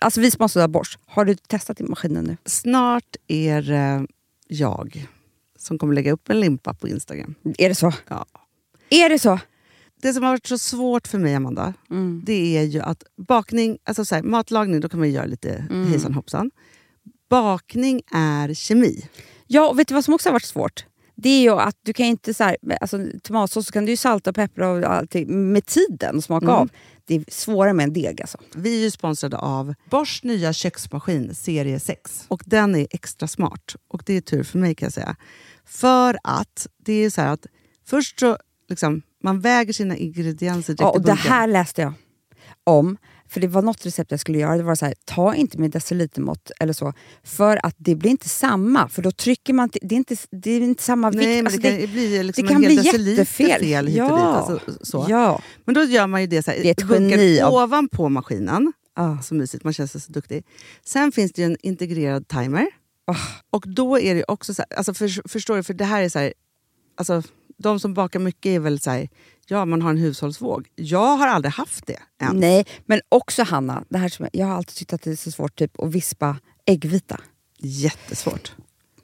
Speaker 6: Alltså vi som har sådär borst, har du testat i maskinen nu?
Speaker 7: Snart är eh, jag som kommer lägga upp en limpa på Instagram.
Speaker 6: Är det så?
Speaker 7: Ja.
Speaker 6: Är det så?
Speaker 7: Det som har varit så svårt för mig, Amanda,
Speaker 3: Mm.
Speaker 7: det är ju att bakning, alltså så här, matlagning, då kan man ju göra lite hejsan hoppsan. Bakning är kemi.
Speaker 6: Ja, och vet du vad som också har varit svårt? Det är ju att du kan inte så här, alltså tomatsås så kan du ju salta och peppra och allting med tiden och
Speaker 7: Mm.
Speaker 6: smaka av. Det är svårare med en deg alltså.
Speaker 7: Vi är ju sponsrade av Bors nya köksmaskin serie 6. Och den är extra smart. Och det är tur för mig kan jag säga. För att det är så här att först så liksom, man väger sina ingredienser direkt
Speaker 6: Ja,
Speaker 7: i
Speaker 6: och det
Speaker 7: bunken.
Speaker 6: här läste jag om. För det var något recept jag skulle göra. Det var så här, ta inte med decilitermått eller så. För att det blir inte samma. För då trycker man... till- Det är inte, det är inte samma vikt.
Speaker 7: Nej, men
Speaker 6: Alltså,
Speaker 7: det kan ju bli liksom
Speaker 6: det kan
Speaker 7: en hel
Speaker 6: bli
Speaker 7: deciliter
Speaker 6: jättefel.
Speaker 7: fel hit och dit.
Speaker 6: Ja.
Speaker 7: Alltså, så.
Speaker 6: Ja.
Speaker 7: Men då gör man ju det så här,
Speaker 6: Det är ett
Speaker 7: i bunkern
Speaker 6: geni av-
Speaker 7: ovanpå maskinen.
Speaker 6: Ah.
Speaker 7: Så mysigt, man känns så duktig. Sen finns det ju en integrerad timer.
Speaker 6: Ah.
Speaker 7: Och då är det ju också så här, alltså för, förstår du, för det här är så här, alltså de som bakar mycket är väl så här, ja man har en hushållsvåg. Jag har aldrig haft det än.
Speaker 6: Nej, men också Hanna, det här som jag, jag har alltid tyckt att det är så svårt typ, att vispa äggvita.
Speaker 7: Jättesvårt.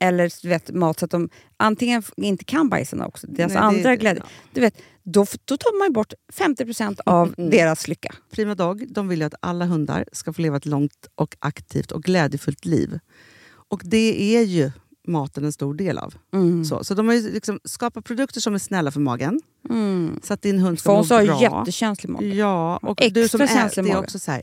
Speaker 3: eller du vet, mat så att de antingen f- inte kan bajsa också, deras
Speaker 7: Nej, det-
Speaker 3: andra
Speaker 7: det-
Speaker 3: glädje.
Speaker 7: ja. Mm.
Speaker 3: Du vet, då, f- då tar man ju bort 50% av deras lycka.
Speaker 7: Prima Dog de vill ju att alla hundar ska få leva ett långt och aktivt och glädjefullt liv. Och det är ju maten en stor del av.
Speaker 3: Mm.
Speaker 7: Så, så de har ju liksom skapat produkter som är snälla för magen. Mm. Så att din hund ska
Speaker 3: Fons
Speaker 7: må
Speaker 3: har
Speaker 7: bra.
Speaker 3: ju jättekänslig mage.
Speaker 7: Ja, och
Speaker 3: Extra
Speaker 7: du som äter,
Speaker 3: känslig
Speaker 7: det är
Speaker 3: mage.
Speaker 7: också så här.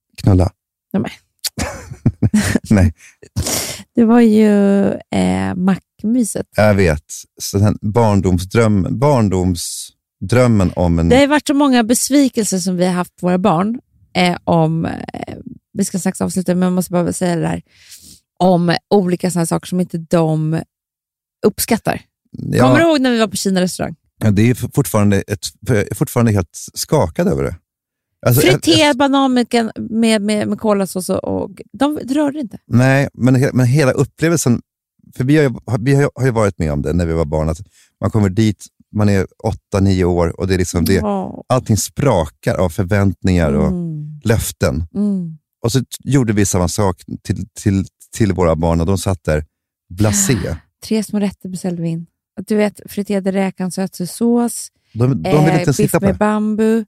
Speaker 4: Knulla.
Speaker 8: Nej, men.
Speaker 4: Nej,
Speaker 8: Det var ju eh, mackmyset.
Speaker 4: jag vet. Så den barndomsdröm, barndomsdrömmen om en...
Speaker 8: Det har ju varit så många besvikelser som vi har haft på våra barn. Eh, om, eh, vi ska strax avsluta, men jag måste bara säga det där. Om olika sådana saker som inte de uppskattar. Kommer du
Speaker 4: ja,
Speaker 8: ihåg när vi var på Kina restaurang?
Speaker 4: det är fortfarande, ett, jag är fortfarande helt skakad över det. Alltså, ett- ett-
Speaker 8: Friterad banan med, med, med, med kolasås och, och... De rörde inte.
Speaker 4: Nej, men, he- men hela upplevelsen, för vi har, ju, har- vi har ju- har ju varit med om det när vi var barn, att Man kommer dit, man är åtta, nio år och det är liksom det.
Speaker 3: Ja.
Speaker 4: Allting sprakar av förväntningar och
Speaker 3: Mm.
Speaker 4: löften.
Speaker 3: Mm.
Speaker 4: Och så gjorde vi samma sak till, till, till våra barn och de satt där blasé.
Speaker 3: Tre små rätter beställde vi in. Du vet, friterade räkan, sötsås,
Speaker 4: De,
Speaker 3: Eh,
Speaker 4: de ville inte ens
Speaker 3: biff
Speaker 4: titta på
Speaker 3: med
Speaker 4: det.
Speaker 3: bambu,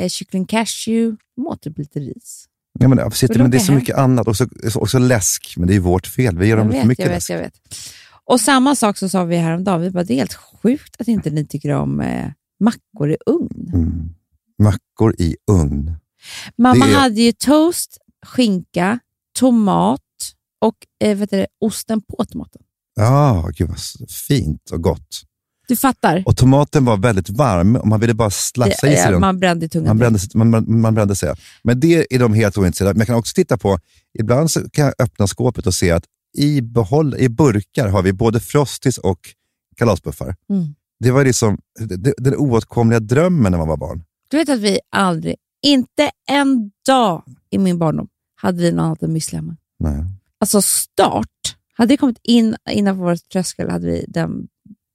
Speaker 3: eh, kyckling cashew. De åt typ lite ris.
Speaker 4: Ja, men, sitter,
Speaker 3: de
Speaker 4: men det är
Speaker 3: är
Speaker 4: så
Speaker 3: här.
Speaker 4: mycket annat. Och så, och så läsk, men det är ju vårt fel. Vi ger
Speaker 3: Jag
Speaker 4: dem för
Speaker 3: vet,
Speaker 4: mycket
Speaker 3: jag vet,
Speaker 4: läsk.
Speaker 3: jag vet. Och samma sak så sa vi häromdagen. Vi bara, det är helt sjukt att inte ni tycker om eh, mackor i ugn.
Speaker 4: Mm. Mackor i ugn.
Speaker 3: Mamma
Speaker 4: Det är-
Speaker 3: hade ju toast, skinka, tomat och eh, vet du, det, osten på tomaten.
Speaker 4: Ja, gud vad s- fint och gott.
Speaker 3: Du fattar?
Speaker 4: Och tomaten var väldigt varm och man ville bara slafsa i
Speaker 3: Det-
Speaker 4: sig
Speaker 3: eh,
Speaker 4: den.
Speaker 3: man brände i tungan.
Speaker 4: Man brände, sig, man, man, man brände sig. Men det är de helt ointresserade av. Men jag kan också titta på, ibland så kan jag öppna skåpet och se att i, behåll, i burkar har vi både Frosties och kalaspuffar.
Speaker 3: Mm.
Speaker 4: Det var liksom det- det- den oåtkomliga drömmen när man var barn.
Speaker 3: Du vet att vi aldrig, inte en dag i min barndom, hade vi något annat än müsli hemma.
Speaker 4: Nej.
Speaker 3: Alltså start, hade det kommit in innanför vår tröskel hade vi den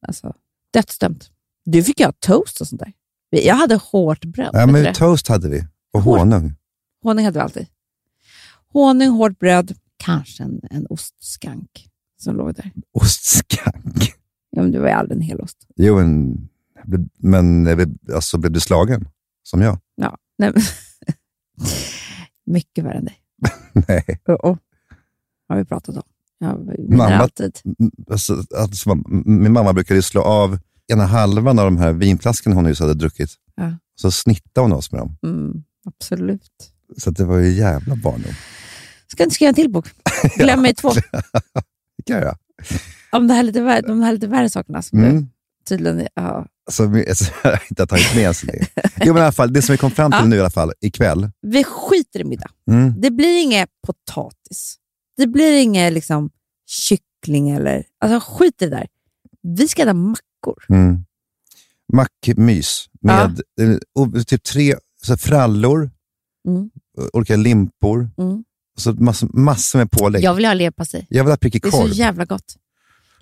Speaker 3: alltså, dödsdömt. Du fick jag toast och sånt där. Vi- Jag hade hårt bröd.
Speaker 4: Ja,
Speaker 3: vet
Speaker 4: men
Speaker 3: du det?
Speaker 4: toast hade vi och
Speaker 3: Hårt.
Speaker 4: honung.
Speaker 3: Honung hade vi alltid. Honung, hårt bröd, kanske en, en ostskank som låg där.
Speaker 4: Ostskank.
Speaker 3: Ja, men det var ju aldrig en hel ost.
Speaker 4: Jo, en, men jag blev- alltså, blev du slagen? Som jag?
Speaker 3: Ja, nej, men- Mycket värre än dig.
Speaker 4: Nej.
Speaker 3: Uh-oh. har vi pratat om. Jag vinner
Speaker 4: Mamma-
Speaker 3: alltid.
Speaker 4: Mm, Alltså, alltså, mam- min mamma brukade ju slå av ena halvan av de här vinflaskorna hon just hade druckit.
Speaker 3: Ja.
Speaker 4: Så snittade hon oss med dem.
Speaker 3: Mm, absolut.
Speaker 4: Så att det var ju jävla barndom.
Speaker 3: Ska inte skriva en till bok? Glöm mig två.
Speaker 4: Det kan jag göra.
Speaker 3: Om det här lite värre, de här lite värre sakerna som du
Speaker 4: Mm.
Speaker 3: tydligen... Ja.
Speaker 4: Alltså, vi- alltså, jag har inte tagit med ens det. Jo, men i alla fall, det som vi kom fram till
Speaker 3: Ja.
Speaker 4: nu i alla fall, ikväll.
Speaker 3: Vi skiter i middag.
Speaker 4: Mm.
Speaker 3: Det blir inget potatis. Det blir inget liksom, kyckling eller... Alltså skit i det där. Vi ska äta mackor.
Speaker 4: Mm. Mackmys med eh, o- typ tre så här frallor,
Speaker 3: Mm.
Speaker 4: o- olika limpor,
Speaker 3: Mm.
Speaker 4: och så massor, massor med pålägg.
Speaker 3: Jag vill ha leverpastej.
Speaker 4: Jag vill ha prickig
Speaker 3: Det är så
Speaker 4: korv.
Speaker 3: jävla gott.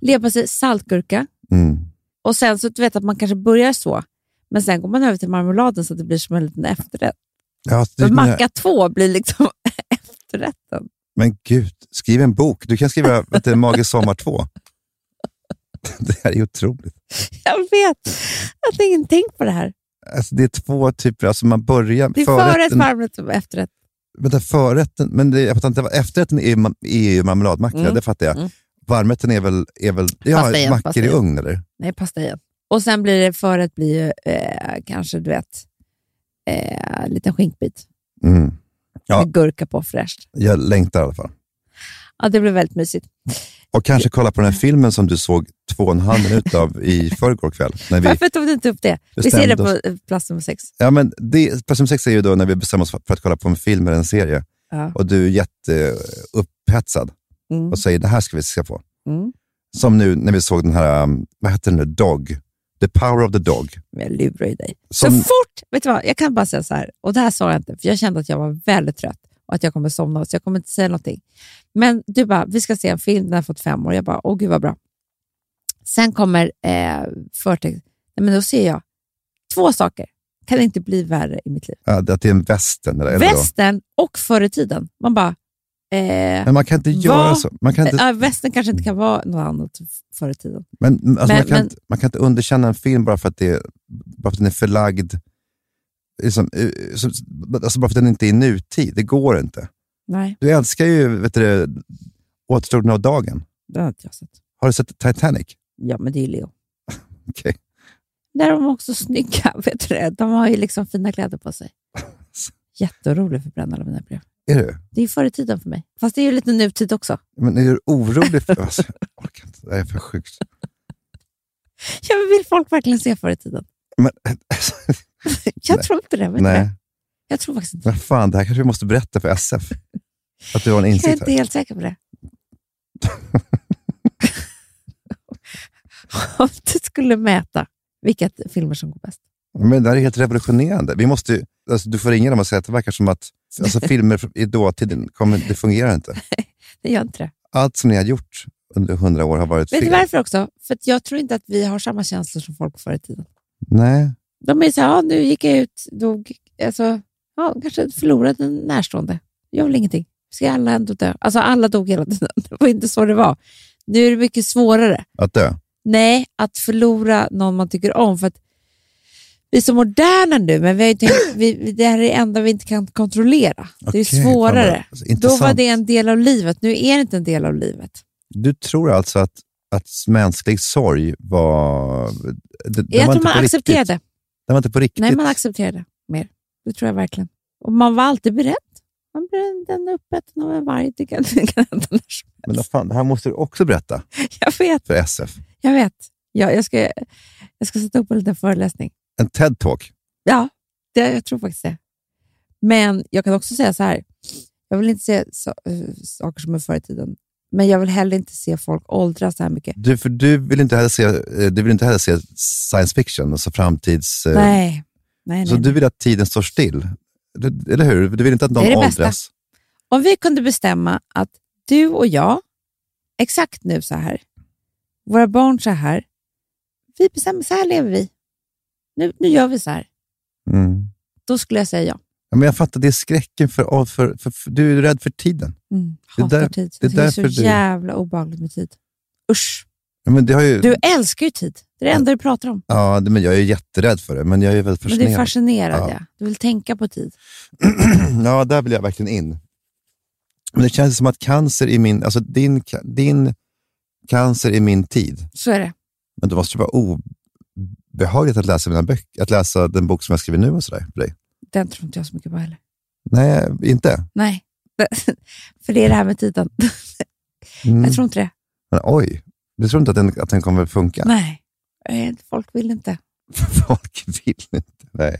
Speaker 3: Leverpastej, saltgurka
Speaker 4: Mm.
Speaker 3: och sen så du vet att man kanske börjar så, men sen går man över till marmeladen så att det blir som en liten efterrätt.
Speaker 4: Ja, det,
Speaker 3: Men
Speaker 4: men,
Speaker 3: macka två blir liksom efterrätten.
Speaker 4: men gud, skriv en bok. Du kan skriva vet du, Magisk sommar 2. Det här är otroligt.
Speaker 3: Jag vet. Jag hade ingen tänkt på det här.
Speaker 4: Alltså, det är två typer, alltså man börjar...
Speaker 3: Det är förrätt, varmrätt och efterrätt.
Speaker 4: Vänta, förrätten, men det, jag fattar inte, vad- efterrätten är ju, ma- är ju marmeladmacka,
Speaker 3: Mm.
Speaker 4: det fattar jag.
Speaker 3: Mm.
Speaker 4: Varmrätten är väl, är väl ja,
Speaker 3: Pastejen,
Speaker 4: mackor i
Speaker 3: pastejen.
Speaker 4: ugn eller?
Speaker 3: Nej, pastejen. Och sen blir det förrätt blir ju eh, kanske, du vet, eh, en liten skinkbit
Speaker 4: Mm. Ja.
Speaker 3: med gurka på fräscht.
Speaker 4: Jag längtar i alla fall.
Speaker 3: Ja, det blir väldigt mysigt.
Speaker 4: Och kanske kolla på den här filmen som du såg två och en halv minut av i förrgår kväll. När vi,
Speaker 3: Varför tog du inte upp det? Vi ser det
Speaker 4: bestämde
Speaker 3: på eh, plats nummer sex.
Speaker 4: ja, men det, Person 6 är ju då när vi bestämmer oss för att kolla på en film eller en serie
Speaker 3: Ja.
Speaker 4: och du är jätteupphetsad
Speaker 3: Mm.
Speaker 4: och säger det här ska vi se på.
Speaker 3: Mm.
Speaker 4: Som nu när vi såg den här, um, vad heter den nu, Dog? The power of the dog.
Speaker 3: Men jag lurar ju dig.
Speaker 4: Som,
Speaker 3: Så fort, vet du vad, jag kan bara säga så här, och det här sa jag inte, för jag kände att jag var väldigt trött och att jag kommer somna, så jag kommer inte säga någonting. Men du bara, vi ska se en film, den har fått fem år. Jag bara, åh gud vad bra. Sen kommer eh, förtext. Nej, men då ser jag två saker. Kan inte bli värre i mitt liv.
Speaker 4: ja, att det är en västern. Eller, eller då.
Speaker 3: Västern och förr i tiden. Man bara, eh,
Speaker 4: Men man kan inte
Speaker 3: Vad?
Speaker 4: göra så. Man kan inte,
Speaker 3: ja, västern kanske inte kan vara något annat förr i tiden.
Speaker 4: men, alltså,
Speaker 3: men-
Speaker 4: man, kan
Speaker 3: men-
Speaker 4: inte, man kan inte underkänna en film bara för att, det, är- bara för att den är förlagd, liksom, eh, som- alltså bara för att den inte är i nutid. Det går inte.
Speaker 3: Nej,
Speaker 4: Du älskar ju vet du, det, Återstoden av dagen.
Speaker 3: det har inte jag sett.
Speaker 4: Har du sett Titanic?
Speaker 3: Ja, men det är ju Leo.
Speaker 4: Okej.
Speaker 3: Där är de också snygga. Vet du det? De har ju liksom fina kläder på sig. Jätteorolig för brännande av mina brev.
Speaker 4: Är du?
Speaker 3: Det är ju förr i tiden för mig. Fast det är ju lite nutid också.
Speaker 4: Men är du orolig? För, alltså, jag orkar inte. Det här är för sjukt.
Speaker 3: Jag vill folk verkligen se förr i tiden?
Speaker 4: Men, alltså,
Speaker 3: Jag
Speaker 4: Nej.
Speaker 3: tror inte det. Vet du
Speaker 4: nej,
Speaker 3: det? Jag tror faktiskt inte det.
Speaker 4: men fan, det här kanske vi måste berätta för SF. Att du har en
Speaker 3: Jag är
Speaker 4: insikt
Speaker 3: inte
Speaker 4: här.
Speaker 3: helt säker på det. Om du skulle mäta vilka t- filmer som går bäst.
Speaker 4: Men det här är helt revolutionerande. Vi måste, ju- alltså, du får ringa dem och säga att det verkar som att alltså, filmer i dåtiden, kommer, det fungerar inte.
Speaker 3: Det gör inte det.
Speaker 4: Allt som ni har gjort under hundra år har varit
Speaker 3: Vet
Speaker 4: fel.
Speaker 3: du varför också? För att jag tror inte att vi har samma känslor som folk förr i tiden.
Speaker 4: Nej,
Speaker 3: De är så här, ja, nu gick jag ut, dog, alltså, ja, kanske förlorade en närstående. Jag vill ingenting. Ska alla ändå dö? Alltså alla dog hela tiden. Det var inte så det var. Nu är det mycket svårare.
Speaker 4: att dö.
Speaker 3: Nej, att förlora någon man tycker om. För att vi är så moderna nu, men vi har ju tänkt, vi, vi- det här är det enda vi inte kan kontrollera. det är
Speaker 4: Okej, fan
Speaker 3: svårare.
Speaker 4: vad- alltså,
Speaker 3: Då var
Speaker 4: intressant.
Speaker 3: det en del av livet, nu är det inte en del av livet.
Speaker 4: Du tror alltså att, att mänsklig sorg var... Det, det
Speaker 3: jag
Speaker 4: var
Speaker 3: tror
Speaker 4: inte
Speaker 3: man
Speaker 4: på
Speaker 3: accepterade
Speaker 4: Riktigt.
Speaker 3: det.
Speaker 4: Det var inte på riktigt.
Speaker 3: Nej, man accepterade det mer. Det tror jag verkligen. Och man var alltid beredd. Man blev den uppäten av en varg. Det kan, det kan hända när som-
Speaker 4: Men vad fan, det här måste du också berätta
Speaker 3: Jag vet,
Speaker 4: för SF.
Speaker 3: jag vet. Ja, jag, ska, jag ska sätta upp en liten föreläsning.
Speaker 4: En TED-talk.
Speaker 3: Ja, det, jag tror faktiskt det. Men jag kan också säga så här. Jag vill inte se så, eh, saker som är förr i tiden. Men jag vill heller inte se folk åldras så här mycket.
Speaker 4: Du, för du, vill inte heller se, eh, du vill inte heller se science fiction, alltså framtids... eh,
Speaker 3: Nej. Nej,
Speaker 4: så
Speaker 3: nej,
Speaker 4: du
Speaker 3: nej.
Speaker 4: vill att tiden står still? Du- Eller hur? Du vill inte att någon
Speaker 3: Det är det bästa.
Speaker 4: åldras?
Speaker 3: Om vi kunde bestämma att du och jag, exakt nu så här, våra barn så här, vi bestämmer, så här lever vi. Nu, nu gör vi så här.
Speaker 4: Mm.
Speaker 3: Då skulle jag säga ja.
Speaker 4: Ja, men jag fattar, det är skräcken för, för, för, för... Du är rädd för tiden.
Speaker 3: Mm.
Speaker 4: Det är
Speaker 3: Hatar
Speaker 4: där-
Speaker 3: tid.
Speaker 4: det är
Speaker 3: Det är så
Speaker 4: därför du-
Speaker 3: jävla obehagligt med tid. Usch.
Speaker 4: Ja, Men det har ju,
Speaker 3: Du älskar ju tid. Det är det enda du pratar om.
Speaker 4: ja, det- men jag är ju jätterädd för det, men jag är väldigt
Speaker 3: Men du är
Speaker 4: fascinerad.
Speaker 3: fascinerad,
Speaker 4: Ja.
Speaker 3: ja. Du vill tänka på tid.
Speaker 4: ja, där vill jag verkligen in. Men det känns som att cancer i min, alltså din, ca- din cancer i min tid,
Speaker 3: Så är det.
Speaker 4: men det måste ju vara obehagligt att läsa mina böcker, att läsa den bok som jag skriver nu och sådär för dig.
Speaker 3: Den tror inte jag så mycket på heller.
Speaker 4: Nej, inte?
Speaker 3: Nej, för det är det här med tiden.
Speaker 4: Mm.
Speaker 3: Jag tror inte det.
Speaker 4: men, oj, du tror inte att den, att den kommer funka?
Speaker 3: Nej, Eh, folk vill inte.
Speaker 4: Folk vill inte. Nej.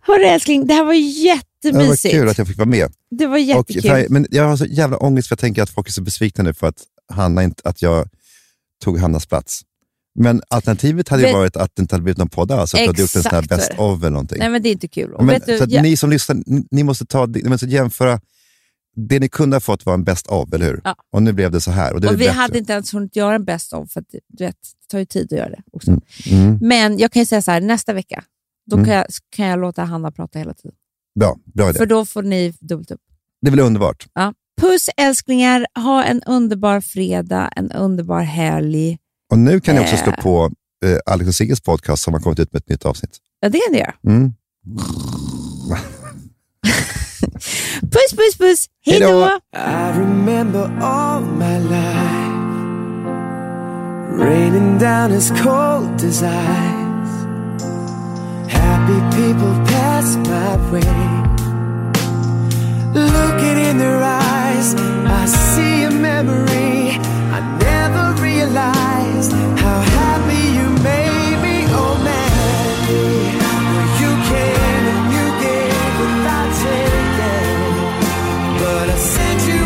Speaker 3: Hörru älskling, det här var
Speaker 4: Det var
Speaker 3: jättemysigt.
Speaker 4: kul att jag fick vara med.
Speaker 3: Det var
Speaker 4: Och,
Speaker 3: jättekul.
Speaker 4: för jag, men jag har så jävla ångest för jag tänker att folk är så besvikna nu för att, Hanna inte, att jag tog Hannas plats. Men alternativet hade ju
Speaker 3: Vet-
Speaker 4: varit att det inte hade blivit någon podd alls, att du hade gjort en sån här
Speaker 3: Exakt så är
Speaker 4: best
Speaker 3: det.
Speaker 4: of eller någonting.
Speaker 3: Nej men det är inte kul. Och
Speaker 4: men,
Speaker 3: vet du,
Speaker 4: så att
Speaker 3: jag,
Speaker 4: ni som lyssnar, ni, ni måste ta, det- ni måste jämföra. Det ni kunde ha fått var en best of, eller hur?
Speaker 3: Ja.
Speaker 4: Och nu blev det så här. Och, det är
Speaker 3: och vi
Speaker 4: bättre.
Speaker 3: hade inte ens hunnit göra en best of, för att, du vet, det tar ju tid att göra det också.
Speaker 4: Mm.
Speaker 3: Men jag kan ju säga så här, nästa vecka, då
Speaker 4: Mm.
Speaker 3: kan, jag, kan jag låta Hanna prata hela tiden.
Speaker 4: Bra, bra idé.
Speaker 3: För då får ni dubbelt upp.
Speaker 4: Det är väl underbart.
Speaker 3: Puss älsklingar, ha en underbar fredag, en underbar helg.
Speaker 4: Och nu kan ni också slå
Speaker 3: Eh.
Speaker 4: på eh, Alex och Sigges podcast som har kommit ut med ett nytt avsnitt.
Speaker 3: Ja, det kan ni göra.
Speaker 4: Mm.
Speaker 3: Puss, puss, puss! Hej
Speaker 4: Hej då.
Speaker 3: då!
Speaker 8: I remember all my life raining down as cold as ice. Happy people pass my way. Looking in their eyes, I see a memory. I never realized how happy you made me, oh Mary. You came and you oh gave without taking. But I sent you Oh, Oh, oh,